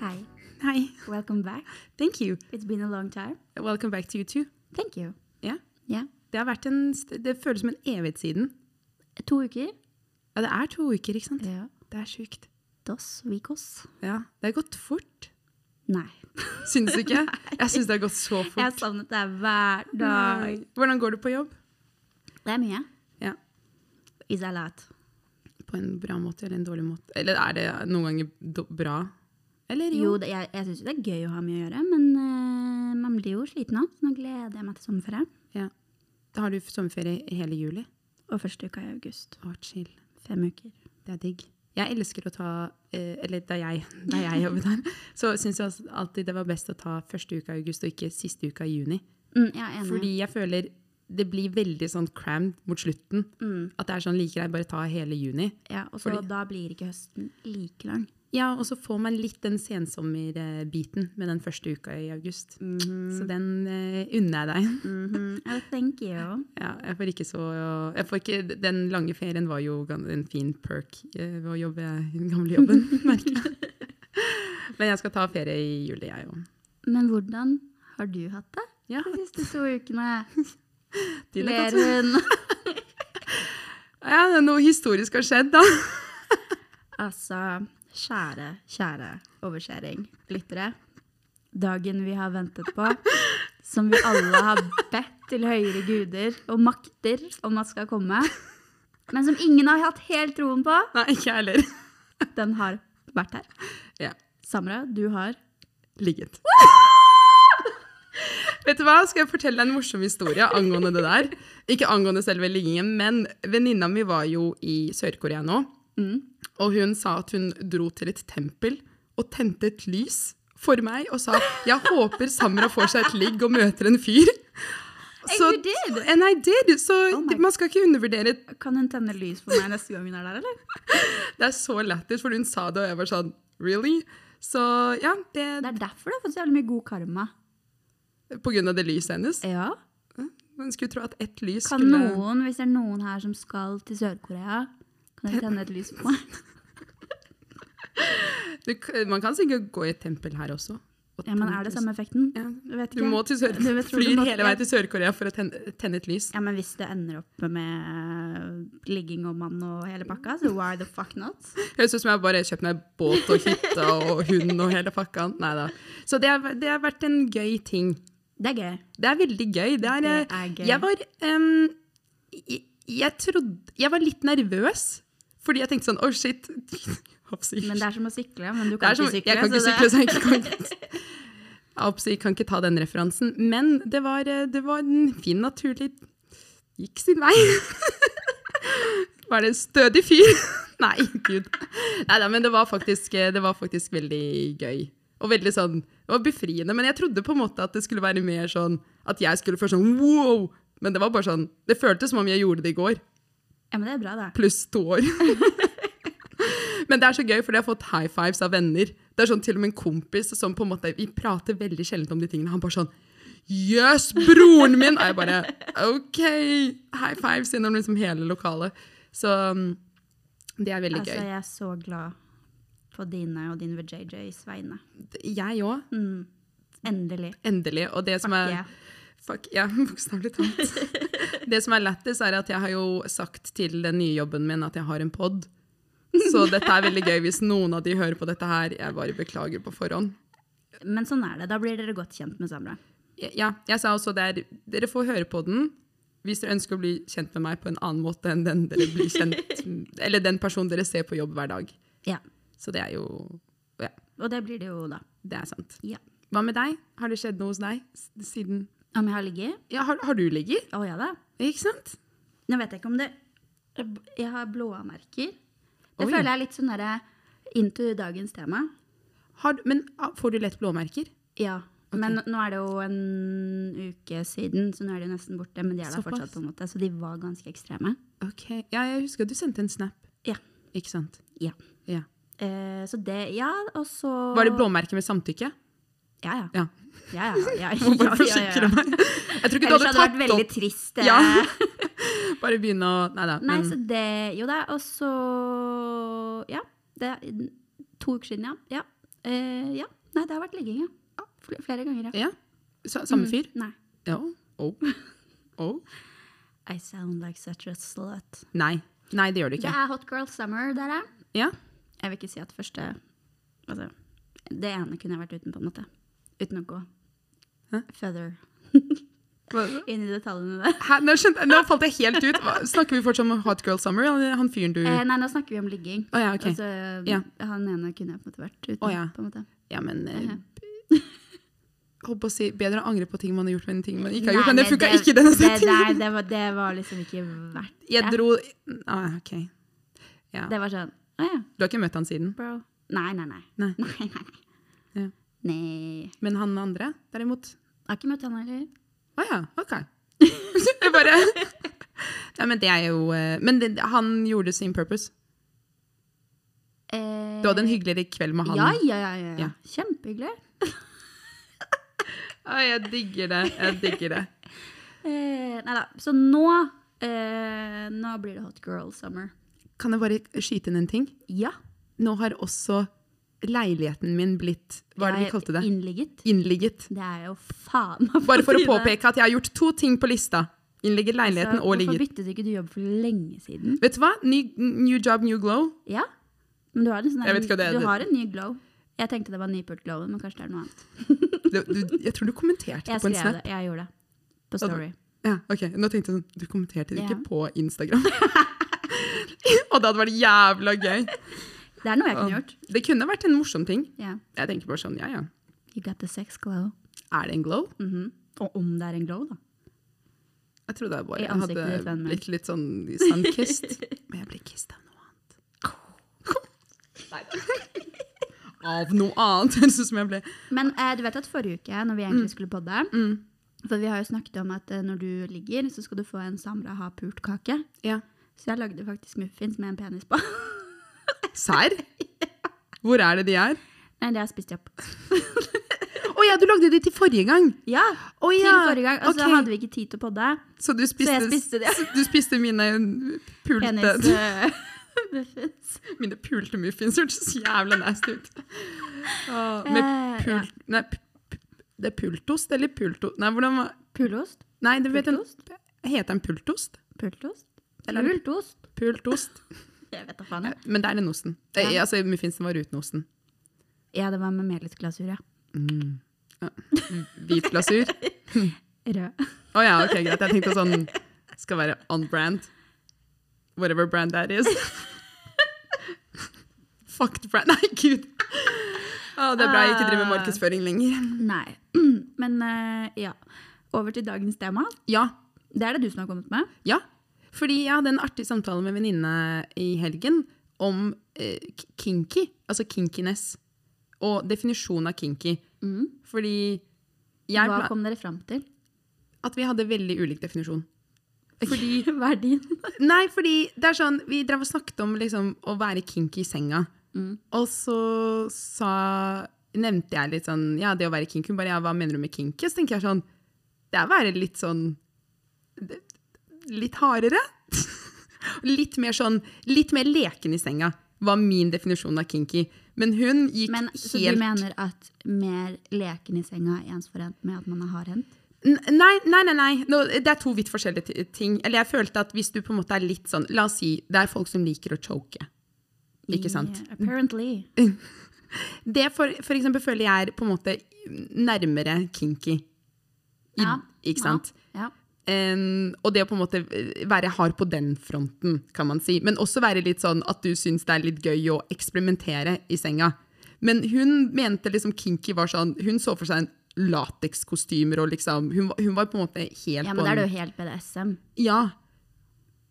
Hi, Hi. welcome back. Thank you. It's been a long time. Welcome back to you too. Thank you. Ja. Ja. Det, har vært en, st- det føles som en evighet siden. To uker. Ja, det er to uker, ikke sant? Ja. Det er sjukt. Dos vicos. Ja. Det har gått fort. Nei. Syns du ikke? Jeg syns det har gått så Jeg har fort. savnet deg hver dag. Hvordan går det på jobb? Det er mye. Ja. Is a lot. På en bra måte eller en dårlig måte? Eller er det noen ganger do- bra? Eller Jo, det, jeg, jeg syns jo det er gøy å ha mye å gjøre, men eh, man blir jo sliten av. Så nå gleder jeg meg til sommerferie. Ja. Da har du sommerferie hele juli. Og første uka i august. Å, chill. Fem uker. Det er digg. Jeg elsker å ta eh, Eller da jeg, da jeg jobbet der, så syns jeg altså alltid det var best å ta første uka i august og ikke siste uka i juni. Mm, jeg er enig. Fordi jeg føler det blir veldig sånn crammed mot slutten. At det er sånn like greit bare ta hele juni. ja, og så fordi- da blir ikke høsten like lang. Ja, og så får man litt den sensommerbiten med den første uka i august. Mm. Mhm. Så den eh, unner jeg deg. Oh, thank you. Ja, jeg får ikke så jeg får ikke, Den lange ferien var jo gan- en fin perk eh, ved å jobbe i den gamle jobben, merker jeg. Men jeg skal ta ferie i juli, jeg òg. Men hvordan har du hatt det Ja, de siste to ukene? tiden er Ler godt. hun? ja, noe historisk har skjedd, da. Altså, kjære, kjære overskjæring, lyttere. Dagen vi har ventet på, som vi alle har bedt til høyere guder og makter om at skal komme, men som ingen har hatt helt troen på, Nei, ikke jeg heller. den har vært her. Ja. Samra, du har ligget. Vet du hva? Skal jeg fortelle deg en morsom historie angående det der? Ikke angående selve liggingen, men venninna mi var jo i Sør-Korea nå. Mm. Og hun sa at hun dro til et tempel og tente et lys for meg og sa jeg håper Samra får seg et ligg og møter en fyr. you did. And I did! Så my- man skal ikke undervurdere Kan hun tenne lys for meg neste gang hun er der, eller? Det er så lættis, for hun sa det, og jeg var sånn Really? Så ja, det, Det er derfor du har fått så jævlig mye god karma. på grunn av det lyset hennes. Ja. Man skulle tro at ett lys Kan skulle noen, hvis det er noen her som skal til Sør-Korea, kan dere tenne et lys for meg? du, k- Man kan sikkert gå i et tempel her også. og Ja, men tenne er det et lys. samme effekten? Ja. Jeg vet Du ikke. må til sør Du vet- tror du flyr må- hele ja. veien til Sør-Korea for å tenne, tenne et lys. Ja, men hvis det ender opp med ligging og mann og hele pakka, så why the fuck not? Høres ut som jeg bare har kjøpt meg båt og hytte og hund og hele pakka. Neida. Så det har, det har vært en gøy ting. Det er gøy. Det er veldig gøy. Det er, eh, Det er gøy. Jeg var em, jeg, jeg trodde Jeg var litt nervøs, fordi jeg tenkte sånn Oh, shit. Hoppsi. Men det er som å sykle, men du Det kan er som, ikke sykle. jeg kan ikke sykle, så jeg kan ikke, Ops, jeg kan ikke ta den referansen. Men det var, eh, det var en fin, naturlig Gikk sin vei. Var det en stødig fyr? Nei, gud. Neida, men det var, faktisk, eh, det var faktisk veldig gøy. Og veldig sånn, det var befriende. Men jeg trodde på en måte at det skulle være mer sånn at jeg skulle først sånn wow. Men det var bare sånn, det føltes som om jeg gjorde det i går Ja, men det er bra, da. pluss to år. Men det er så gøy, for jeg har fått high fives av venner. Det er sånn til og med en kompis som på en måte, Vi prater veldig sjelden om de tingene. Han bare sånn Jøss, broren min! Og jeg bare OK! High fives gjennom liksom hele lokalet. Så um, det er veldig Altså, jeg er så glad på dine og din VJJs vegne. gøy. Jeg òg. Mm. Endelig. Endelig. Og det som Fuck er yeah. Fuck, ja, bokstavelig talt. Det som er lættis, er at jeg har jo sagt til den nye jobben min at jeg har en pod. Så dette er veldig gøy hvis noen av de hører på dette her. Jeg bare beklager på forhånd. Men sånn er det. Da blir dere godt kjent med Samra. Ja, jeg sa også der, dere får høre på den hvis dere ønsker å bli kjent med meg på en annen måte enn den dere blir kjent Eller den personen dere ser på jobb hver dag. Ja. Så det er jo Ja, Og det blir det jo da. det er sant. Ja. Hva med deg? Har det skjedd noe hos deg s- siden Om jeg har ligget? Ja, har, har du ligget? Å ja da. Ikke sant? Nå vet jeg ikke om det Jeg har blåmerker. Det Oi. føler jeg er litt sånn derre into dagens tema. Har, du- men ah, får du lett blåmerker? Ja. Men nå er det jo en uke siden, så nå er de jo nesten borte. Men de er der Såpass. fortsatt, på en måte. Så de var ganske ekstreme. Ok, ja, jeg husker at du sendte en snap, Ja. ikke sant? ja. Ja. Eh, så det Ja, og så Var det blåmerke med samtykke? Ja, ja. Ja. ja, ja, ja, ja, ja, Må bare ja, forsikre ja. meg. Jeg tror ikke du Ellers hadde hadde tatt det vært veldig opp. trist. eh. Ja. Bare begynne å Nei da. Nei, men- så det Jo da, og så Ja. Det er to uker siden, ja. ja. Eh, ja. Nei, det har vært ligging, ja. Fl- Flere ganger, ja. Mm, Ja. Sa- Samme fyr? Nei. Ja. Oh. Oh. I sound like such a slut. Nei. Nei, det gjør du Det ikke. er hot girl summer, det er det. Ja. Jeg vil ikke si at første altså, Det ene kunne jeg vært uten, på en måte. Uten å gå Hæ? feather Hva- inn i detaljene der. Hæ? Nå, skjønte, nå falt jeg helt ut. Hva- Snakker vi fortsatt om Hot Girl Summer? Han, han fyren du Eh, nei, nå snakker vi om ligging. Å ja, Mm. ok. Altså, Ja. Han ene kunne jeg på en måte vært uten. Å ja. på en måte. Ja, men eh, Mhm. Holdt på å si bedre å angre på ting man har gjort, enn ting man ikke har Nei, gjort. Men det funka ikke i denne det- Nei, settingen. det var, det var liksom ikke verdt det. Jeg dro ah, OK. Ja. Det var sånn Å ja, Du har ikke møtt han siden? bro. Nei, nei, nei. Nei. nei, nei. Ja. nei. nei. Men han andre, derimot? Jeg har ikke møtt han heller. Å ja, OK. Jeg bare Nei, men det er jo eh, Men det, han gjorde sin purpose. Eh, Du hadde en hyggeligere kveld med han. Ja, ja, ja. ja. Ja. ja. Kjempehyggelig. Å, jeg digger det. Jeg digger det. Eh, nei da. Så nå eh, Nå blir det hot girl summer. Kan jeg bare skyte inn en ting? Ja. Nå har også leiligheten min blitt Hva er det vi jeg kalte det? Innligget. Innligget. Det er jo faen meg på Bare for å tide. påpeke at jeg har gjort to ting på lista. Innlegget leiligheten Altså, og Hvorfor ligget. byttet ikke du jobb for lenge siden? Vet du hva? Ny, new job, new glow. Ja. Men du har en, sånn Jeg vet ikke hva det er. du har en ny glow. Jeg tenkte det var nypult-glowen, men kanskje det er noe annet. Du, du, jeg tror du kommenterte det Jeg på en skrev snap. det. Jeg gjorde det. På Ja, da- Story. Ja, ok. Nå tenkte jeg sånn, du kommenterte det Ja. ikke på Instagram. og det hadde vært jævla gøy. Det er noe jeg kunne gjort. Det kunne vært en morsom ting. Ja. Jeg tenker bare sånn, ja ja. You got the sex glow. Er det en glow? Mhm. Og om det er en glow, da. Jeg trodde jeg bare I ansiktet ditt, hadde vennen min. blitt litt sånn sandkist. Men jeg ble kist av noe annet. Av noe annet, høres ut som jeg ble Men eh, du vet at forrige uke, når vi egentlig Mm. skulle podde For vi har jo snakket om at eh, når du ligger, så skal du få en samla ha pult-kake. Ja. Så jeg lagde faktisk muffins med en penis på. Serr? Hvor er det de er? Nei, det har jeg spist opp. Å ja, du lagde de til forrige gang! Ja, Å til ja, forrige gang. Og så ok. hadde vi ikke tid til å podde. Så du spiste, jeg spiste de. så du spiste mine pulte, Penis eh, muffins. mine pulte muffins. Hørtes så jævla nasty ut. Å, med Eh, pul... Nei, p- p- det er pultost eller pulto... Nei, hvordan var Pulost? Nei, det vet en, Pultost? heter den pultost? Pultost? Eller er det- Pultost? Pultost. Jeg vet da faen. jeg. Men det er den osten. Eh, Ja. Altså, muffinsen var uten osten. Ja, det var med melisglasur, ja. Mm. Hvit glasur. Rød. Å ja, ok, greit. Jeg tenkte sånn Skal være on brand. Whatever brand that is. Fucked brand. Nei, gud. Å, det er bra jeg ikke driver med Ah. markedsføring lenger. Nei. Men eh, ja. Over til dagens tema. Ja. Det er det du som har kommet med. Ja. Fordi jeg hadde en artig samtale med en venninne i helgen om eh, k- kinky, altså kinkiness, og definisjonen av kinky. Fordi Mm. jeg Hva pla- kom dere fram til? At vi hadde veldig ulik definisjon. Fordi Hva er din? Nei, fordi det er sånn, vi drev og snakket om liksom, å være kinky i senga. Mm. Og så sa, nevnte jeg litt sånn, ja, det å være kinky. Hun bare, ja, hva mener du med kinky? Så tenker jeg sånn, det er å være litt sånn, det- litt hardere. litt mer sånn, litt mer leken i senga, var min definisjon av kinky. Men hun gikk Men, helt... så du mener at mer leken i senga er ensforent med at man er hardhendt? N- Nei, nei, nei. nei. Nå, det er to vidt forskjellige ti- ting. Eller jeg følte at hvis du på en måte er litt sånn La oss si det er folk som liker å choke. Ikke sant? Yeah, apparently. Det for, for eksempel føler jeg er på en måte nærmere kinky. I, Ja, Ikke sant? Ja. Em, og det å på en måte eh, være hard på den fronten, kan man si. Men også være litt sånn at du syns det er litt gøy å eksperimentere i senga. Men hun mente liksom kinky var sånn Hun så for seg en latekskostymer og liksom hun, var- hun var på en måte helt ja, på men da en- er det jo helt BDSM. Ja.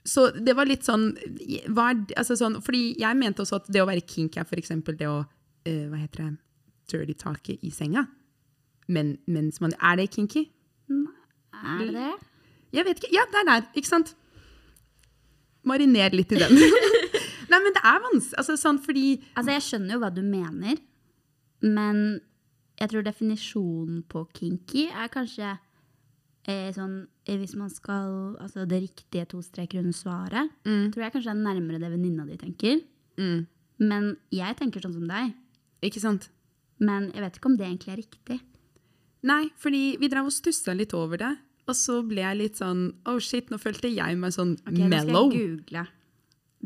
Så det var litt sånn, hva er, det- altså sånn Fordi jeg mente også at det å være kink er f.eks. det å eh, Hva heter det? Dirty talkie i senga. Men mens man Er det kinky? Er Mm. det det? Jeg vet ikke. Ja, det er der, ikke sant? Mariner litt i den. Nei, men det er vanskelig. Altså, sånn fordi Altså, jeg skjønner jo hva du mener, men jeg tror definisjonen på kinky er kanskje eh, sånn eh, Hvis man skal Altså det riktige to streker under svaret, Mm. tror jeg kanskje det er nærmere det venninna di tenker. Men jeg tenker sånn som deg. Ikke sant? Men jeg vet ikke om det egentlig er riktig. Nei, fordi vi drev og stussa litt over det. Og så ble jeg litt sånn Oh shit, nå følte jeg meg sånn Ok, Da skal mellow. jeg google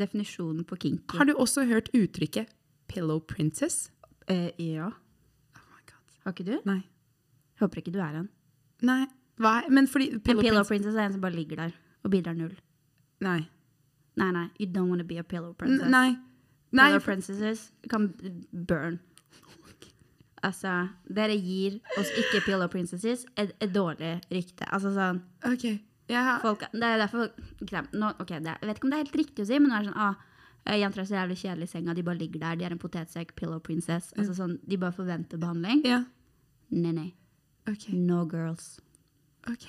definisjonen på kinky. Har du også hørt uttrykket 'pillow princess'? Eh, ja. Oh my god. Har ikke du? Nei. Håper ikke du er en. Nei. Hva er Men fordi En pillow, pillow princess princess er en som bare ligger der og bidrar null. Nei. Nei, nei. You don't want to be a pillow N- princess. Nei. Nei. Pillow princesses kan burn. Altså, dere gir oss ikke pillow princesses et, et dårlig rykte. Altså sånn OK. Jeg har folk, Det er derfor ikke sant, nå, ok, det, er- Jeg vet ikke om det er helt riktig å si, men nå er det sånn ah, eh, Jenter er så jævlig kjedelige i senga. De bare ligger der. De er en potetsekk. Pillow princess. Altså sånn, De bare forventer behandling. Ja. Nei, nei. OK. No girls. Ok.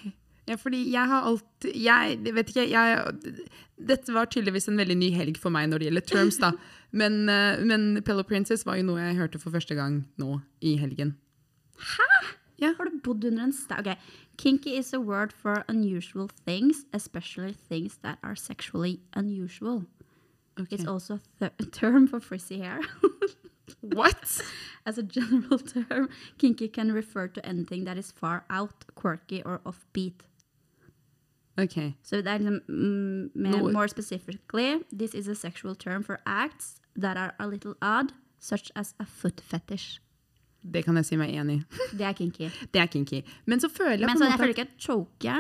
Ja, fordi jeg har alltid Jeg jeg vet ikke, jeg Dette var tydeligvis en veldig ny helg for meg når det gjelder terms, da. Men, eh, men Pillow Princess var jo noe jeg hørte for første gang nå i helgen. Har du bodd under en stein? Ok, Kinky is a word for unusual things, especially things that are sexually unusual. It's also a th- term for frizzy hair. What?! As a general term, kinky can refer to anything that is far out, quirky or offbeat. Ok. So that mm, ma- No. more specifically, this is a sexual term for acts that are a little odd, such as a foot fetish. Det kan jeg si meg enig i. Det er kinky. Det er kinky. Men så føler jeg Men på sånn, en jeg føler måte ikke at choke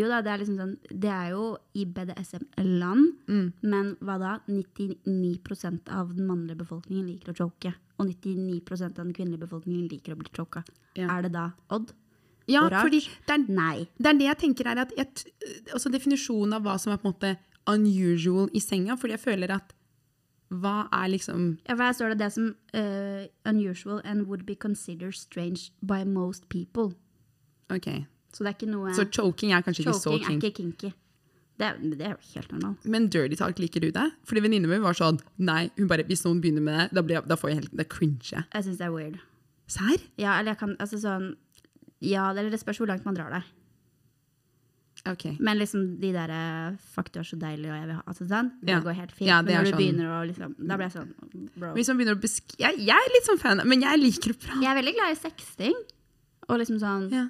Jo da, det er liksom sånn Det er jo i BDSM-land, men hva da? 99 av den mannlige befolkningen liker å choke. Og 99 av den kvinnelige befolkningen liker å bli choka. Ja. Er det da odd? Ja, Oransje? fordi det er, Nei. det er det jeg tenker er at jeg, t- altså Definisjonen av hva som er på en måte unusual i senga, fordi jeg føler at Hva er liksom Ja, for her står det det som eh, unusual and would be considered strange by most people. OK. Så det er ikke noe Så choking er kanskje ikke så Choking kinky. er ikke kinky. Det, er- det er jo helt normalt. Men dirty talk, liker du det? Fordi venninnen min var sånn Nei, hun bare, hvis noen begynner med det, da, blir jeg, da får jeg helt Da cringer jeg. Jeg syns det er weird. Serr? Ja, eller jeg kan Altså sånn Ja, eller det spørs hvor langt man drar der. OK. Men liksom de der eh, 'fuck, du er så deilig', og jeg vil ha altså, sånn, Det Ja. går helt fint. Ja, det men er når du sånn- begynner å liksom Da blir jeg sånn bro. Hvis man begynner å besk... Jeg, jeg er litt sånn fan, men jeg liker å prate. Jeg er veldig glad i sexting. Og liksom sånn Ja.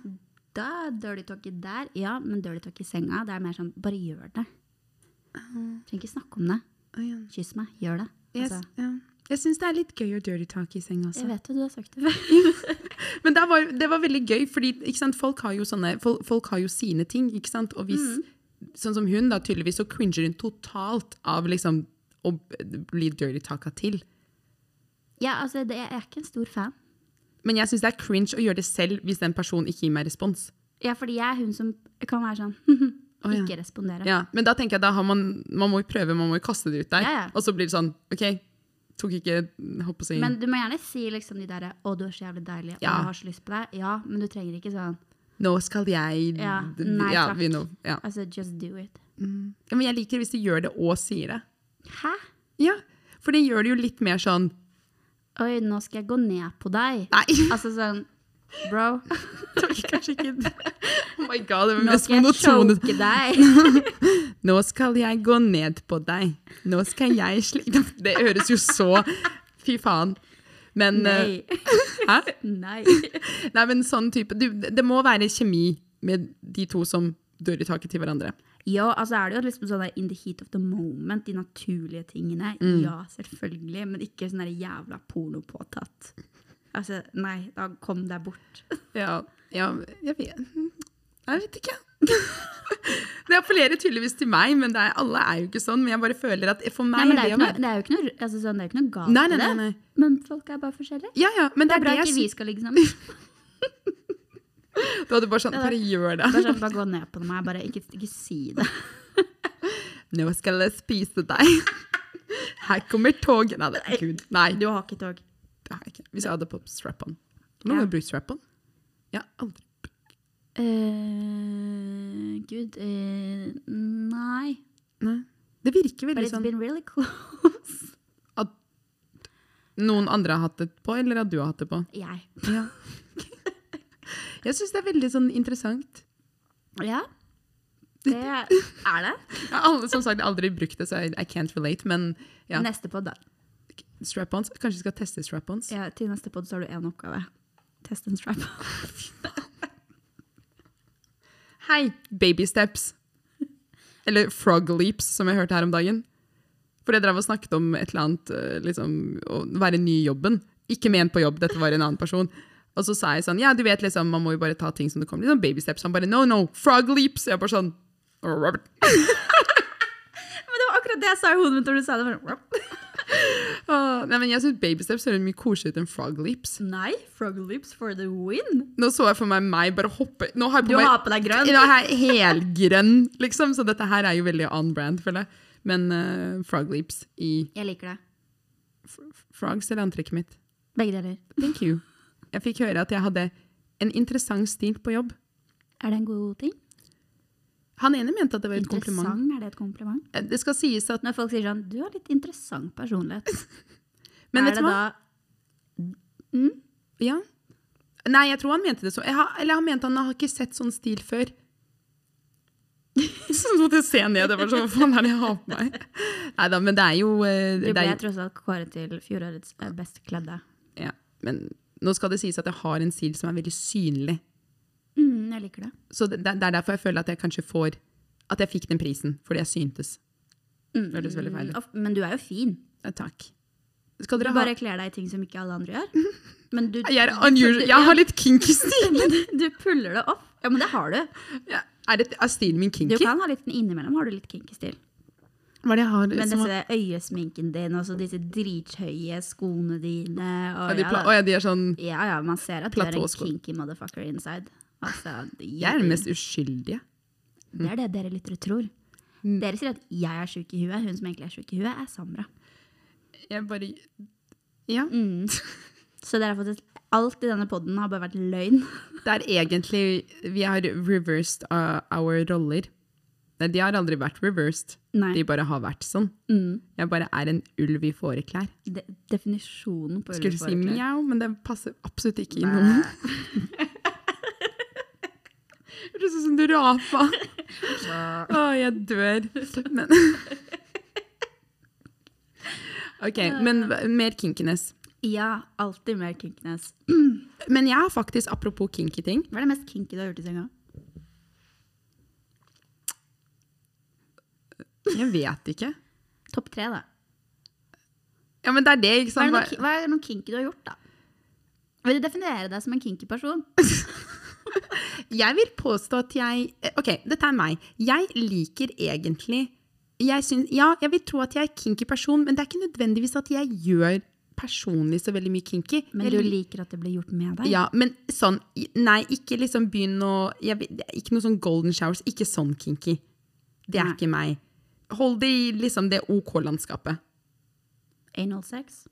Da er dirty talk i der. Ja, men dirty talk i senga, det er mer sånn Bare gjør det. Ah. Trenger ikke snakke om det. Kyss meg. Gjør det. Jeg, Altså, ja. jeg syns det er litt gøy å dirty talk i senga også. jeg vet jo du har sagt det før. Men det var, det var veldig gøy, fordi ikke sant, folk, har jo sånne, folk, folk har jo sine ting, ikke sant? Og hvis, sånn som hun da, tydeligvis så cringer hun totalt av liksom å b- bli dirty talka til. Ja, altså, det, jeg er ikke en stor fan. Men jeg syns det er cringe å gjøre det selv hvis den personen ikke gir meg respons. Ja, fordi jeg er hun som kan være sånn ja. Ikke respondere. Ja, men da tenker jeg da har man, man må jo prøve, man må jo kaste det ut der. Ja, ja. Og så blir det sånn, ok, tok ikke, holdt på å si. Men du må gjerne si liksom de derre 'Å, du er så jævlig deilig', og Ja. 'Jeg har så lyst på deg'. Ja, men du trenger ikke sånn Nå skal jeg... Ja, nei ja, takk. vi nå- ja. Altså, just do it. ja, men jeg liker hvis de gjør det og sier det. Hæ? Ja, for det gjør det jo litt mer sånn, Oi, nå skal jeg gå ned på deg. nei, Altså sånn Bro, det blir kanskje ikke det. Oh my god, det var nå mest skal jeg monotone. choke deg. Nå skal jeg gå ned på deg. Nå skal jeg slik... Det høres jo så... Fy faen. Men... eh, Nei. Hæ? Nei. Nei, men sånn type du, Det må være kjemi med de to som dør i taket til hverandre. Ja, altså er det jo liksom sånn der in the heat of the moment, de naturlige tingene. Mm. Ja, selvfølgelig, men ikke sånn der jævla porno påtatt. Altså, nei, da kom deg bort. Ja, ja jeg vet Jeg vet ikke. Det appellerer tydeligvis til meg, men det er, alle er jo ikke sånn. Men jeg bare føler at for meg Nei, men det er jo å ikke noe, være- det er jo ikke noe, altså, sånn, det er jo ikke noe galt Nei, nei, i det. nei, nei. Men folk er bare forskjellige. Ja, ja, men det Det er er bra det jeg ikke vi syns. skal ligge sammen. Du hadde bare sånn Bare gjør det. Bare, sånn, bare gå ned på meg. Bare ikke, ikke si det. Nå skal jeg spise deg. Her kommer toget. Nei, det, gud. Nei, Du har ikke tog. det har jeg ikke. Hvis jeg hadde på strap-on. Nå må Ja. jeg bruke strap-on. Ja, aldri. Eh, Gud eh, Nei. Nei. Det virker But veldig it's sånn been really close. At noen andre har hatt det på, eller at du har hatt det på? Jeg. Ja. Jeg syns det er veldig sånn interessant. Ja. Det er det. Jeg har alle som sagt aldri brukt det, så I, I can't relate, men ja. Neste på da. Strap-ons. Kanskje vi skal teste strap-ons? Ja, til neste podd så har du én oppgave. Test en strap. Hei! Baby steps. Eller frog leaps, som jeg hørte her om dagen. For jeg drev og snakket om et eller annet, eh, liksom, å være ny i jobben. Ikke med en på jobb, dette var en annen person. Og så sa jeg sånn, ja, du vet liksom, man må jo bare ta ting som det kommer. Liksom baby steps. Han bare, no, no, frog leaps. Jeg bare sånn, «Å, Robert. Men det var akkurat det jeg sa i hodet mitt når du sa det. Bare, Å, Nei, men jeg synes baby steps hører mye koseligere ut enn frog leaps. Nei, frog lips for the win. Nå så jeg for meg meg bare hoppe. Nå har jeg Du på meg... har på deg grønn. Nå er jeg helgrønn, liksom. Så dette her er jo veldig on brand, føler jeg. Men eh, frog leaps i Jeg liker det. f- frogs eller antrekket mitt. Begge deler. Thank you. Jeg fikk høre at jeg hadde en interessant stil på jobb. Er det en god ting? Han ene mente at det var et kompliment. Interessant, er det et kompliment? Eh, Det skal sies at Når folk sier sånn 'du har litt interessant personlighet', Men er vet det du hva? da Ja. Nei, jeg tror han mente det så. Jeg har, eller han mente han har ikke sett sånn stil før. Så måtte jeg se ned. Det var sånn, hva faen er det jeg har på meg? Nei da, men det er jo eh, Du det er, ble jo- tross alt kåret til fjorårets eh, best kledde. ja, Men nå skal det sies at jeg har en stil som er veldig synlig. Mm, jeg liker det. Så det, det er derfor jeg føler at jeg kanskje får At jeg fikk den prisen, fordi jeg syntes. Det Hørtes veldig feil ut. Mm. Of- Men du er jo fin. Eh, Takk. Skal Du dere ha bare kler deg i ting som ikke alle andre gjør. Men du, Jeg er unusual. Jeg har litt kinky stil. du puller det opp. Ja, men det har du. Ja, Er, det, er stilen min Du kinky? kan ha litt innimellom har du litt kinky stil. Hva er det jeg har? Men som- disse øyesminken din og så disse drithøye skoene dine Ja, og de, ja, pla- da. Å ja, de er sånn ja, ja, man ser at du er en Platåsko. kinky motherfucker inside. Altså, Jeg er den mest uskyldige. Det er det dere lyttere tror. Mm. Dere sier at jeg er sjuk i huet. Hun som egentlig er sjuk i huet, er Samra. Jeg bare Ja. Så dere har fått et, alt i denne poden har bare vært løgn. Det er egentlig Vi har reversed uh, our roller. Nei, de har aldri vært reversed. Nei. Mm. De bare har vært sånn. Jeg bare er en ulv i fåreklær. De, definisjonen på Skulle si ulveforeklær. mjau, men det passer absolutt ikke i noen. Hørtes ut som du rapa. Å, jeg dør. Men OK, men hva- mer kinkiness. Ja, alltid mer kinkiness. Men jeg har faktisk, apropos kinky ting Hva er det mest kinky du har gjort i senga? Jeg vet ikke. Topp tre, da. Ja, men det er det, ikke Hva er, sant? det noe, ki- hva er det noe kinky du har gjort, da? Vil du definere deg som en kinky person? Jeg vil påstå at jeg eh, OK, dette er meg. Jeg liker egentlig jeg syns- Ja, jeg vil tro at jeg er kinky person, men det er ikke nødvendigvis at jeg gjør personlig så veldig mye kinky. Men Jeg du lik- liker at det blir gjort med deg? Ja, men sånn i- Nei, ikke liksom begynn å jeg, vet- det er Ikke noe sånn golden showers. Ikke sånn kinky. Det er Nei. ikke meg. Hold det i liksom det OK-landskapet. Anal sex?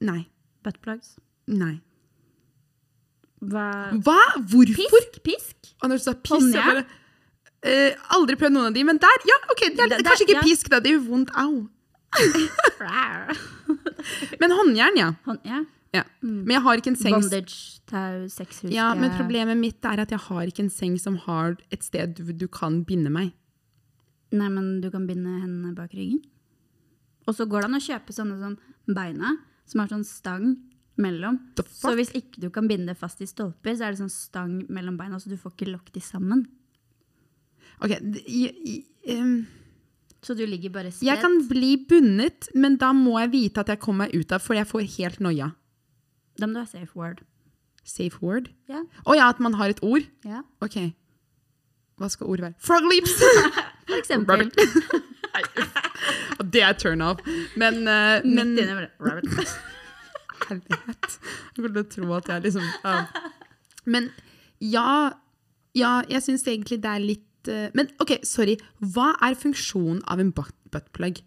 Nei. Buttplugs? Nei. Hva Hva? Hvorfor? Pisk? Pisk? Og når du sa piss, Håndjern? jeg bare eh, Aldri prøvd noen av de, men der! Ja, OK, det er Det- det- kanskje ikke ja. pisk, da. Det gjør vondt. Au. Rar. Men håndjern, ja. Hånd, ja. ja. Mm. Men jeg har ikke en seng Bondage, tau, eh, sexhuske Ja, men problemet mitt er at jeg har ikke en seng som har et sted du, du kan binde meg. Nei, men du kan binde hendene bak ryggen. Og så går det an å kjøpe sånne som beina, som har sånn stang mellom. The fuck? Så hvis ikke du kan binde det fast i stolper, så er det sånn stang mellom beina, så du får ikke lokket de sammen. OK, d- i, i, em, Så du ligger bare spredt. Jeg kan bli bundet, men da må jeg vite at jeg kommer meg ut av, for jeg får helt noia. Da må du ha safe word. Safe word? Ja. Å ja, at man har et ord? ja. Ok. Hva skal ordet være? Frog leaps! For eksempel. Rabbit. Nei, uff. Og det er turn off. Men, eh, men Midt inne bare, rabbit. Herlighet. Jeg kommer til å tro at jeg liksom ja. Men ja, ja jeg syns egentlig det er litt eh, Men OK, sorry. Hva er funksjonen av en butt- buttplug?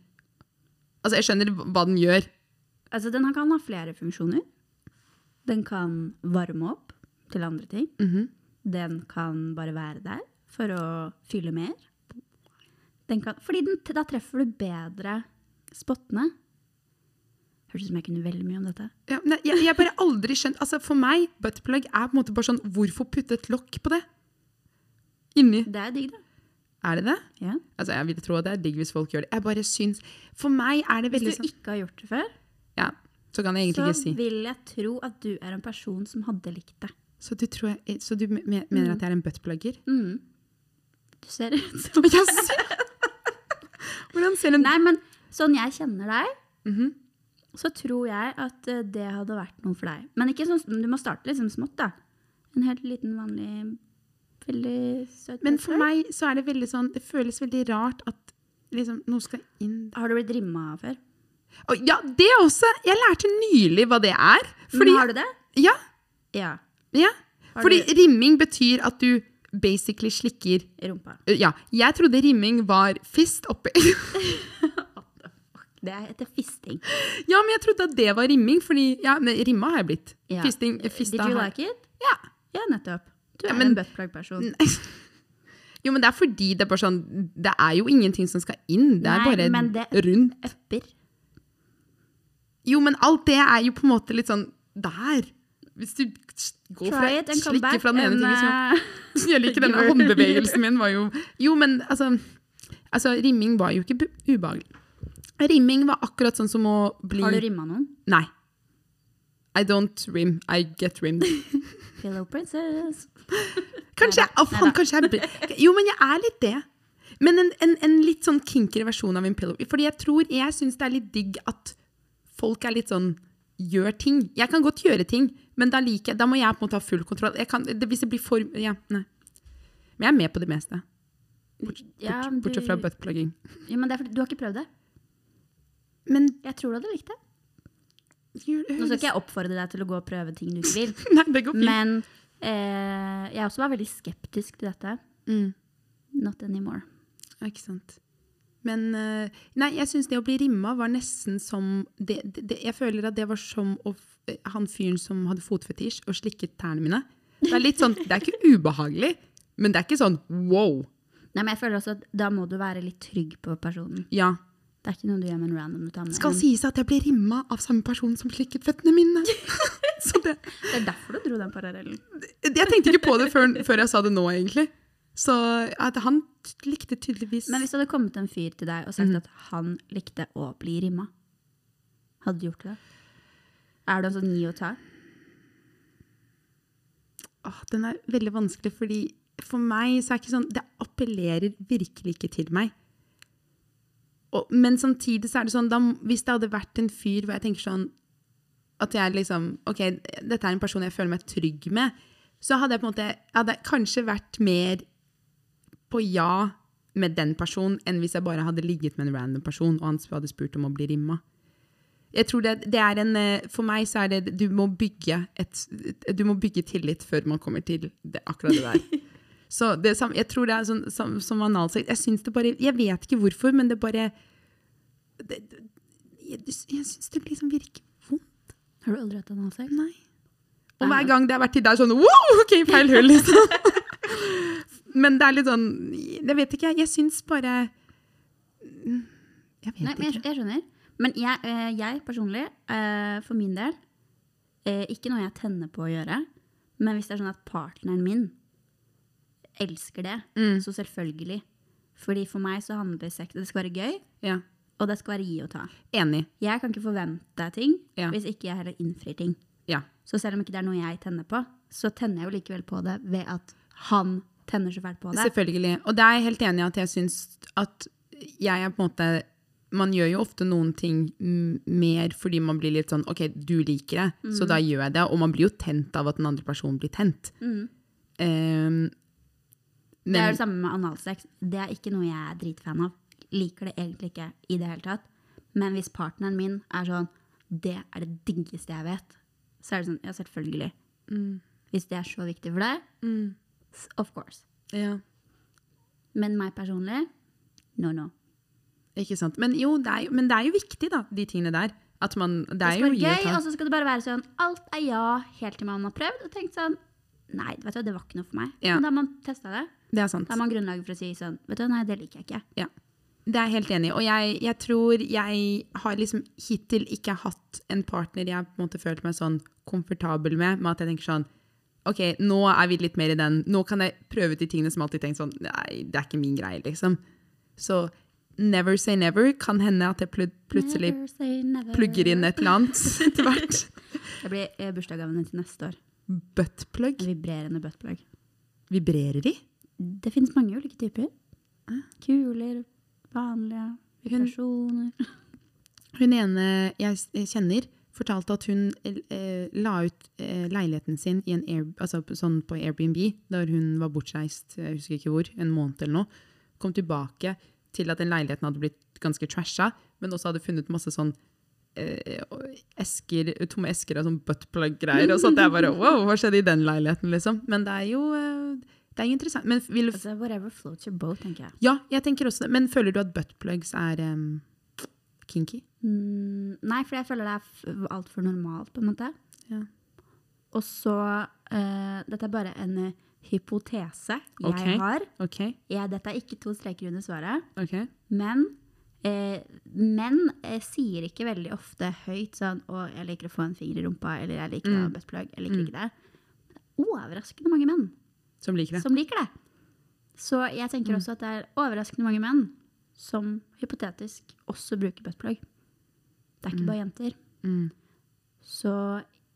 Altså, jeg skjønner hva den gjør. Altså, den her kan ha flere funksjoner. Den kan varme opp til andre ting. Den kan bare være der for å fylle mer. Den kan, fordi den, da treffer du bedre spottene. Hørtes ut som jeg kunne veldig mye om dette. Ja, nei, jeg, jeg bare aldri skjønt altså For meg, buttplug er på en måte bare sånn Hvorfor putte et lokk på det? Inni. Det er digg, da. Er det det? Ja. Altså, Jeg vil tro at det er digg hvis folk gjør det. Jeg bare syns For meg er det Hvis veldig du sånn ikke har gjort det før, ja, Så kan jeg egentlig Så ikke si. vil jeg tro at du er en person som hadde likt det. Så du, tror jeg, så du me- mener at jeg er en buttplugger? Mm. Du ser ut som Jeg ser- Hvordan ser en Nei, men sånn jeg kjenner deg, Mhm. så tror jeg at eh, det hadde vært noe for deg. Men ikke sånn, du må starte liksom smått, da. En helt liten, vanlig, veldig søt Men for person. meg så er det veldig sånn Det føles veldig rart at liksom noe skal inn Har du blitt rimma før? Å, Ja, det også! Jeg lærte nylig hva det er. Fordi, Fordi har du det? Ja. Ja. ja. Har Fordi rimming betyr at du basically slikker I rumpa. Ja, jeg trodde rimming var fist oppi Det heter fisting. Ja, men jeg trodde at det var rimming, fordi ja, men rimma har jeg blitt. Ja. Eh, Fisting, Did fista you har like it? Ja. Ja, nettopp. Du Ja, er men- en buttplug-person. Jo, men det er fordi det er bare sånn Det er jo ingenting som skal inn. Det er Nei, bare men det- rundt. Epper. Jo, men alt det er jo på en måte litt sånn der. Hvis du går fra, Try it and come slikker back. fra den ene and, tingen som uh, Jeg liker denne You're- håndbevegelsen min var jo Jo, men altså, altså Rimming var jo ikke bu- ubehagelig. Rimming var akkurat sånn som å bli Har du rimma noen? Nei. I don't rim, I get rimmed. Hello, princess. Kanskje jeg, å, faen, kanskje jeg blir- Jo, men jeg er litt det. Men en, en, en litt sånn kinkere versjon av en pillow. Fordi jeg tror jeg syns det er litt digg at folk er litt sånn Gjør ting. Jeg kan godt gjøre ting, men da, liker jeg, da må jeg på en måte ha full kontroll. Jeg kan, det, hvis det blir for Ja, nei. Men jeg er med på det meste. Ja, bort- men du- Bortsett fra buttplugging. Ja, men det er fordi, du har ikke prøvd det. Men Jeg tror du hadde likt det. Nå skal Nå ikke jeg oppfordre deg til å gå og prøve ting du ikke vil, Nei, det går fint. men eh, jeg også var veldig skeptisk til dette. Mm. Not anymore. Ja, ikke sant. Men eh, Nei, jeg syns det å bli rimma var nesten som det, det, det, Jeg føler at det var som å, f- eh, han fyren som hadde fotfetisj og slikket tærne mine. Det er litt sånn, det er ikke ubehagelig, men det er ikke sånn wow. Nei, men jeg føler også at Da må du være litt trygg på personen. Ja. Det er ikke noe du gjør med en random du tar med. Skal sies at jeg ble rimma av samme person som slikket føttene mine. Så det, Det er derfor du dro den parallellen. jeg tenkte ikke på det før, før jeg sa det nå, egentlig. Så at han t- likte tydeligvis Men hvis det hadde kommet en fyr til deg og sagt at han likte å bli rimma, hadde du gjort det? Er det altså gi og ta? Åh, den er veldig vanskelig, fordi for meg så er det ikke sånn Det appellerer virkelig ikke til meg. Og, men samtidig så er det sånn da, Hvis det hadde vært en fyr hvor jeg tenker sånn At jeg liksom OK, dette er en person jeg føler meg trygg med, så hadde jeg på en måte hadde jeg kanskje vært mer på ja med den personen enn hvis jeg bare hadde ligget med en random person og han hadde spurt om å bli rimma. Jeg tror det, det er en, eh, For meg så er det Du må bygge, et, du må bygge tillit før man kommer til det, akkurat det der. Så det er sam- jeg tror det er sånn som, som analsex Jeg syns det bare Jeg vet ikke hvorfor, men det bare det, det, Jeg, jeg syns det liksom virker vondt. Har du aldri hatt analsex? Nei. Og hver gang det har vært til deg, sånn Wow, OK, feil hull, liksom. men det er litt sånn Jeg vet ikke, jeg. Jeg syns bare Jeg vet Nei, men jeg, ikke. jeg skjønner. Men jeg, eh, jeg personlig, eh, for min del, eh, ikke noe jeg tenner på å gjøre, men hvis det er sånn at partneren min elsker det, så selvfølgelig. Fordi for meg så handler sex Det skal være gøy, Ja. og det skal være gi og ta. Enig. Jeg kan ikke forvente ting Ja. hvis ikke jeg heller innfrir ting. Ja. Så selv om ikke det er noe jeg tenner på, så tenner jeg jo likevel på det ved at han tenner så fælt på det. Selvfølgelig. Og det er jeg helt enig i at jeg syns at jeg er på en måte Man gjør jo ofte noen ting m- mer fordi man blir litt sånn OK, du liker det, så Mm. da gjør jeg det. Og man blir jo tent av at den andre personen blir tent. Ehm, Det er men det samme med analsex. Det er ikke noe jeg er dritfan av. Liker det egentlig ikke i det hele tatt. Men hvis partneren min er sånn Det er det diggeste jeg vet. Så er det sånn Ja, selvfølgelig. Mm. Hvis det er så viktig for deg, s- of course. ja, Men meg personlig no, no. ikke sant. Men jo, det er, jo- men det er jo viktig, da, de tingene der. At man Det Det er skal jo være gi og gøy, ta. og så skal det bare være sånn Alt er ja, helt til man har prøvd og tenkt sånn Nei, vet du, hva, det var ikke noe for meg. Ja. Men da har man testa det. Det er sant. Da har man grunnlaget for å si sånn Vet du, nei, det liker jeg ikke. Ja. Det er jeg helt enig i. Og jeg, jeg tror jeg har liksom hittil ikke hatt en partner jeg på en måte følt meg sånn komfortabel med, med at jeg tenker sånn OK, nå er vi litt mer i den. Nå kan jeg prøve ut de tingene som jeg alltid tenkt sånn Nei, det er ikke min greie, liksom. Så Never Say Never kan hende at jeg plut plutselig Never say never. plugger inn et eller annet etter hvert. Det blir eh, bursdagsgaven din til neste år. Buttplug. En vibrerende buttplug. Vibrerer de? Det finnes mange ulike typer. Ah. Kuler, vanlige, vibrasjoner. Hun ene jeg s- jeg kjenner, fortalte at hun eh, la ut eh, leiligheten sin i en Air, altså, på- sånn på Airbnb, da hun var bortreist jeg husker ikke hvor, en måned eller noe. Kom tilbake til at den leiligheten hadde blitt ganske trasha, men også hadde funnet masse sånn eh, esker, tomme esker av sånn buttplug-greier. Og så at jeg bare wow, hva skjedde i den leiligheten, liksom? Men det er jo eh, det er jo interessant. Men vil, Altså, whatever floats your boat, tenker jeg. ja, jeg tenker også det. Men føler du at buttplugs er em, kinky? Mm, nei, for jeg føler det er f- altfor normalt, på en måte. Ja. Og så eh, Dette er bare en eh, hypotese jeg Ok. har. OK. Jeg, dette er ikke to streker under svaret. Ok. Men eh, menn eh, sier ikke veldig ofte høyt sånn Å, jeg liker å få en finger i rumpa, eller jeg liker å Mm. ha buttplug, jeg liker ikke det. Overraskende mange menn Som liker det. Mm. som liker det. Så jeg tenker også at det er overraskende mange menn som hypotetisk også bruker buttplug. Det er ikke bare jenter. Mm. Så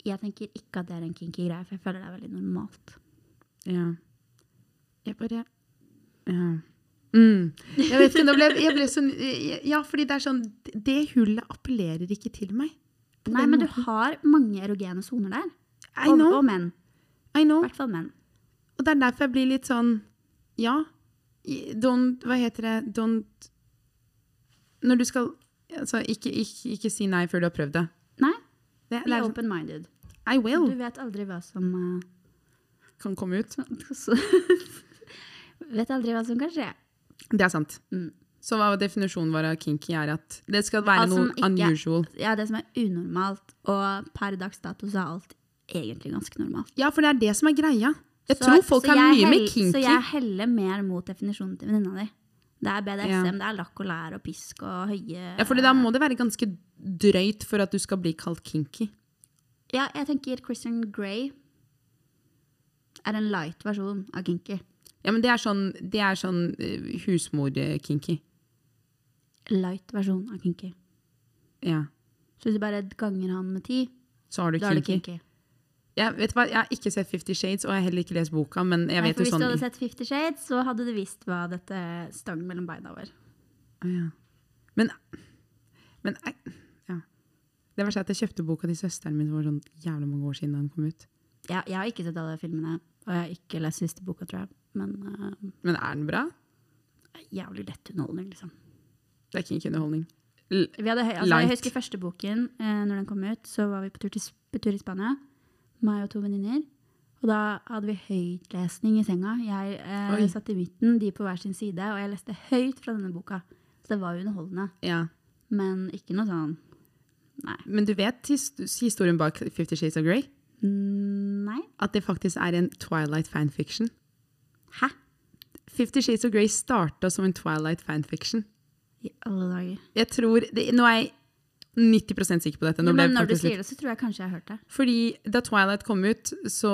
jeg tenker ikke at det er en kinky greie, for jeg føler det er veldig normalt. Ja. Jeg bare Ja. Mm. Jeg vet ikke, nå ble jeg ble sånn Ja, fordi det er sånn Det hullet appellerer ikke til meg. På Nei, den men du måten. har mange erogene soner der. I Og, know. og menn. I I know. hvert fall menn. Og det er derfor jeg blir litt sånn Ja. i- Don't Hva heter det? Don't Når du skal Altså, ikke, ikke, ikke si nei før du har prøvd det. Nei, det, det be er, sånn, open-minded. I Du will vet aldri hva som eh, kan komme ut. så, Vet aldri hva som kan skje. Det er sant. Mm. Så hva definisjonen vår av kinky er at det skal være Alt som noe ikke- unusual. Ja, det som er unormalt, og per dags dato så er alt egentlig ganske normalt. Ja, for det er det som er greia. Jeg Så- tror folk så har jeg mye med hell- Så kinky. jeg heller mer mot definisjonen til venninna di. Det er BDSM, Ja. det er lakk og lær og pisk og høye Ja, fordi da må det være ganske drøyt for at du skal bli kalt kinky. Ja, jeg tenker Christian Grey er en light versjon av kinky. Ja, men det er sånn, det er sånn eh, husmor-kinky. Light versjon av kinky. Ja. Så hvis du bare ganger han med ti, Så har du da er det kinky. kinky. Jeg, vet du hva? jeg har ikke sett Fifty Shades, og jeg har heller ikke lest boka, men jeg Nei, vet for jo hvis sånn du hadde sett Fifty Shades, så hadde du visst hva dette stang mellom beina var. Å, ja. Men, men jeg- ja. Det var sånn at jeg kjøpte boka til søsteren min for sånn jævlig mange år siden da den kom ut. Jeg, jeg har ikke sett alle filmene, og jeg har ikke lest siste boka, tror jeg. Men øh, Men er den bra? jævlig lett underholdning, liksom. Det er kinky underholdning. L Vi hadde, høy- altså, Light. jeg husker første boken, eh, når den kom ut, så var vi på tur, til, Sp- på tur i Spania, meg og to venninner. Og da hadde vi høytlesning i senga. Jeg eh, Oi. satt i midten, de på hver sin side, og jeg leste høyt fra denne boka. Så det var jo underholdende, ja. men ikke noe sånn Nei. Men du vet his historien bak Fifty Shades of Grey? Mm, Nei. At det faktisk er en Twilight fanfiction. Hæ? Fifty Shades of Grey starta som en Twilight fanfiction. I alle dager. Jeg tror det, Nå er jeg 90 sikker på dette. Nå Jo, ble men jeg når du faktisk sier litt det, så tror jeg kanskje jeg har hørt det. Fordi da Twilight kom ut, så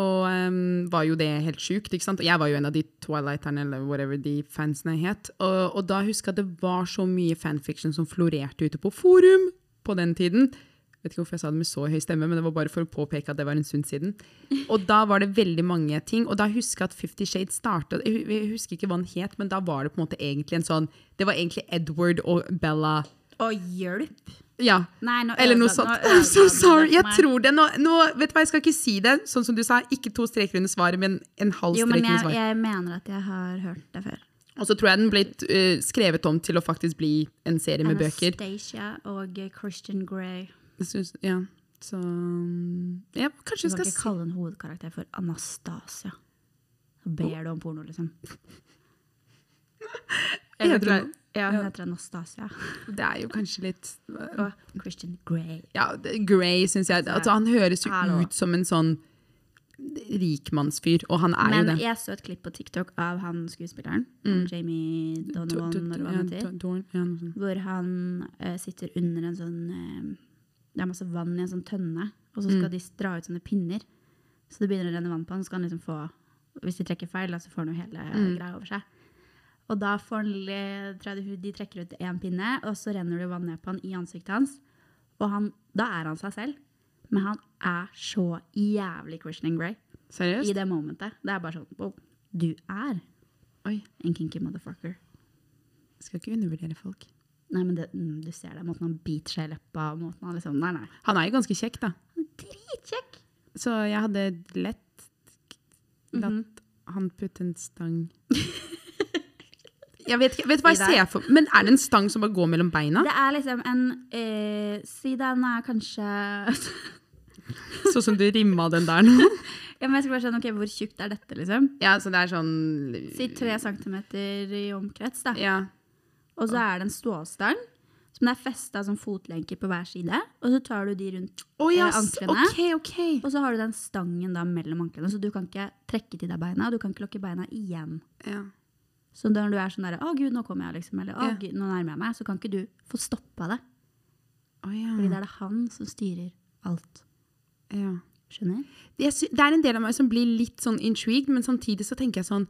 um, var jo det helt sjukt. ikke sant? Og jeg var jo en av de Twilighterne, eller whatever de fansene het. Og, og da husker jeg at det var så mye fanfiction som florerte ute på forum på den tiden. Vet ikke hvorfor jeg sa det med så høy stemme, men det var bare for å påpeke at det var en stund siden. Og da var det veldig mange ting. Og da husker jeg at Fifty Shades starta jeg, hu- jeg husker ikke hva den het, men da var det på en måte egentlig en sånn Det var egentlig Edward og Bella Å, hjelp! Ja. Nei, nå Eller noe sånt. ødela- Eh, nå I'm so ødela du sorry! det Jeg for meg. tror det. Nå, nå, vet du hva, jeg skal ikke si det, sånn som du sa. Ikke to streker under svaret, men en halv Jo, strek men under jeg, svaret. jeg mener at jeg har hørt det før. Og så tror jeg den ble eh, skrevet om til å faktisk bli en serie med bøker. Anastacia og Christian Grey. Jeg synes, ja, så mm, ja, Kanskje Du jeg kan skal ikke si kalle en hovedkarakter for Anastasia. Da ber du om porno, liksom. Jeg Jeg vet tror- ikke- ja, hun heter Anastasia. Det er jo kanskje litt Og Christian Grey. Ja, det- Grey, syns jeg. Altså, han høres jo Hallo. ut som en sånn rikmannsfyr, og han er jo Men det. Mm. jeg så et klipp på TikTok av han skuespilleren, Jamie Donovan, To- to- eller hva ja, han heter. to- Dorn, ja, noe sånt. Hvor han eh, sitter under en sånn eh, Det er masse vann i en sånn tønne, og så skal de dra ut sånne pinner. Så det begynner å renne vann på han, så skal han liksom få Hvis de trekker feil, da, så får han jo hele eh, greia over seg. Og da får han, le- tror jeg det- de trekker ut én pinne, og så renner det vann ned på han i ansiktet hans. Og han, da er han seg selv. Men han er så jævlig Christian Grey i Seriøst? det momentet. Det er bare sånn wow, Du er Oi, en kinky motherfucker. skal ikke undervurdere folk. Nei, men det, mm, du ser det. Måten han biter seg i leppa og måten han liksom Nei, nei. Han er jo ganske kjekk, da. Dritkjekk! Så jeg hadde lett latt han putte en stang Jeg vet ikke vet du hva jeg I deg? ser for Men er det en stang som bare går mellom beina? Det er liksom en eh, Si den er kanskje Sånn som du rimma den der nå? Ja, men jeg skal bare skjønne, ok, Hvor tjukt er dette, liksom? Ja, så det er sånn Si tre centimeter i omkrets, da. Ja. Og så er det en stålstang som det er festa som fotlenker på hver side. Og så tar du de rundt, Å ja, Eh, s- OK, anklene. OK. og så har du den stangen da mellom anklene, så du kan ikke trekke til deg beina, og du kan ikke lokke beina igjen. Ja. Så når du er sånn der 'Å, gud, nå kommer jeg', liksom, eller 'Å, Ja. gud, nå nærmer jeg meg', så kan ikke du få stoppa det. Å Fordi ja. da er det han som styrer alt. ja. Skjønner? Jeg sy det er en del av meg som blir litt sånn intrigued, men samtidig så tenker jeg sånn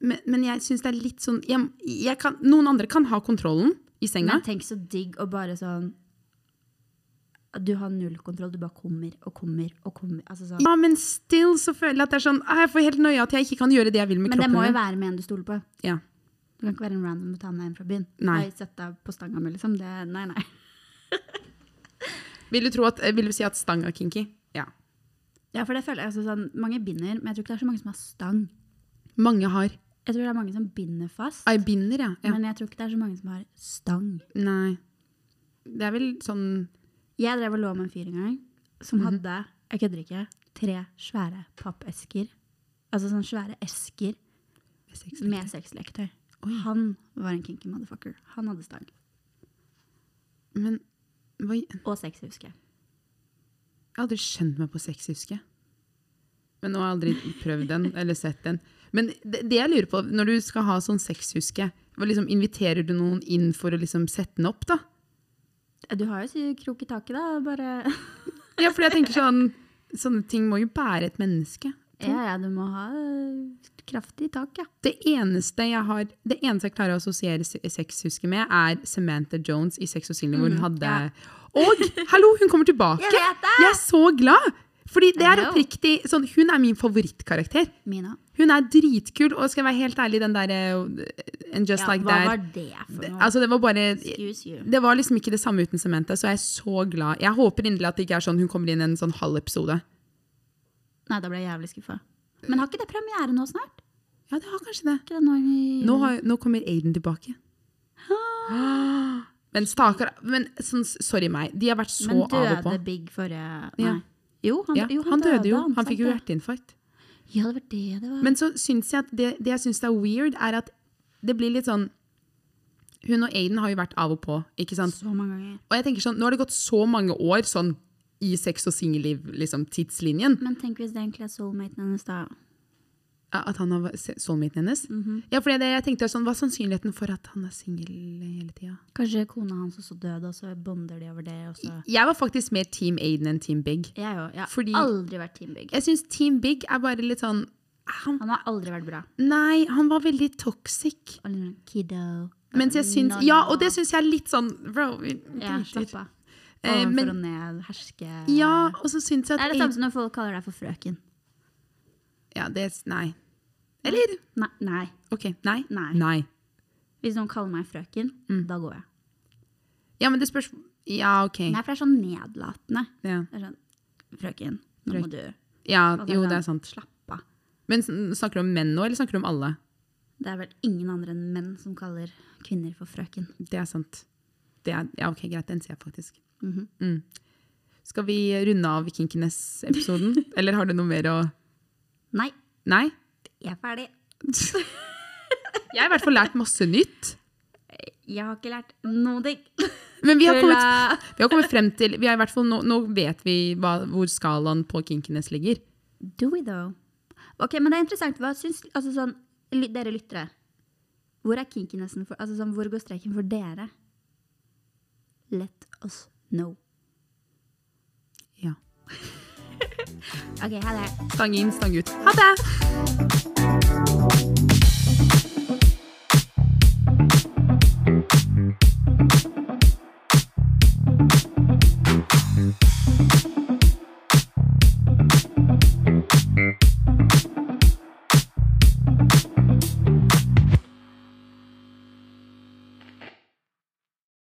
Men, men jeg syns det er litt sånn jeg, jeg kan, Noen andre kan ha kontrollen i senga. Men tenk så digg å bare sånn at Du har null kontroll, du bare kommer og kommer og kommer. Altså sånn. Ja, men still så føler jeg at det er sånn ah, Jeg får helt nøye at jeg ikke kan gjøre det jeg vil med Men det kroppen. må jo min. være med en du stoler på. Ja. Du kan ikke være en random og ta med en fra byen. Nei. Nei, Sett deg på stanga mi, liksom. Det, nei, nei. Vil du tro at eh, Vil du si at stang er kinky? Ja. Ja, for det føler jeg altså, sånn, Mange binder, men jeg tror ikke det er så mange som har stang. Mange har. Jeg tror det er mange som binder fast, I binder, ja. ja. men jeg tror ikke det er så mange som har stang. Nei. Det er vel sånn Jeg drev og lå med en fyr en gang som Mhm. hadde, jeg kødder ikke, tre svære pappesker. Altså sånne svære esker med sexleketøy. Oi. Han var en kinky motherfucker. Han hadde stang. Men hva, jeg Og sex, husker jeg. har aldri skjønt meg på sex, husker jeg. Men nå har jeg aldri prøvd den eller sett den. Men det, det jeg lurer på, når du skal ha sånn sex, husker jeg, hva liksom inviterer du noen inn for å liksom sette den opp, da? Du har jo sikkert krok i taket, da. Bare Ja, fordi jeg tenker sånn Sånne ting må jo bære et menneske. Ja, ja, du må ha eh, kraftig tak, ja. Det eneste jeg har Det eneste jeg klarer å assosiere se- sexhuske med, er Samantha Jones i Sex og Silje, hvor hun hadde Mm, ja. Og hallo, hun kommer tilbake! Jeg vet det! Jeg er så glad! Fordi det er Hello. oppriktig sånn, Hun er min favorittkarakter. Mina. Hun er dritkul, og skal jeg være helt ærlig, den der eh, And Just Ja, Like hva That var det for noe? Altså, det var bare Excuse you. Det var liksom ikke det samme uten Samantha, så jeg er så glad. Jeg håper inderlig at det ikke er sånn hun kommer inn i en sånn halv episode. Nei, da ble jeg jævlig skuffa. Men har ikke det premiere nå snart? Ja, det har kanskje det. Ikke det nå i Nå, har, nå kommer Aiden tilbake. Men stakkar Men sånn, sorry meg, de har vært så av Men og på. døde Big forrige Nei. Ja. Jo, han, Ja, jo, han døde jo. Han sant fikk jo det. hjerteinfarkt. Ja, det var det det var. Men så syns jeg at det, det jeg syns er weird, er at det blir litt sånn Hun og Aiden har jo vært av og på, ikke sant? så mange ganger. Og jeg tenker sånn, nå har det gått så mange år sånn i sex og liksom, singelliv-tidslinjen. Men tenk hvis det egentlig er soulmaten hennes, da. at han har se- soulmaten hennes. Mhm. Ja, for det, jeg tenkte sånn, Hva er sannsynligheten for at han er singel hele tida? Kanskje kona hans også døde, og så bonder de over det. Og så. Jeg var faktisk mer Team Aiden enn Team Big. Jeg òg. Jeg har Fordi- aldri vært Team Big. Jeg syns Team Big er bare litt sånn han, Han har aldri vært bra. Nei, han var veldig toxic. Og liksom, Kiddo. Mens jeg syns No, Ja, no. og det syns jeg er litt sånn Bro, vi Ja, driter. slapp av. Eh, Ovenfor men- og ned, herske Ja, og så syns jeg Det at er det samme som når folk kaller deg for frøken. Ja, det Nei. Eller? Nei. nei. OK. Nei. Mm. Nei. nei. Hvis noen kaller meg frøken, da går jeg. Ja, men det spørs Ja, OK. Nei, for det er sånn nedlatende. Ja, Det er sånn, frøken, nå må du ja Altså, jo, sånn, det er sant. slappe av. Men sn- snakker du om menn nå, eller snakker du om alle? Det er vel ingen andre enn menn som kaller kvinner for frøken. Det er sant. Det er, ja, ok, greit. Den ser jeg faktisk. Mm. Skal vi runde av Kinkenes-episoden? Eller har du noe mer å Nei, Nei? jeg er ferdig. Jeg har i hvert fall lært masse nytt. Jeg har ikke lært noe ting. Men vi har kommet, Tulla. vi har kommet frem til vi har i hvert fall, nå, nå vet vi hva, hvor skalaen på Kinkenes ligger. Do we though? Ok, men det er interessant. Hva syns altså sånn, ly- dere lyttere? Hvor er kinkinessen for Altså sånn, hvor går streken for dere? Let us know. Ja. Ok, ha det. Stang inn, stang ut. Ha det!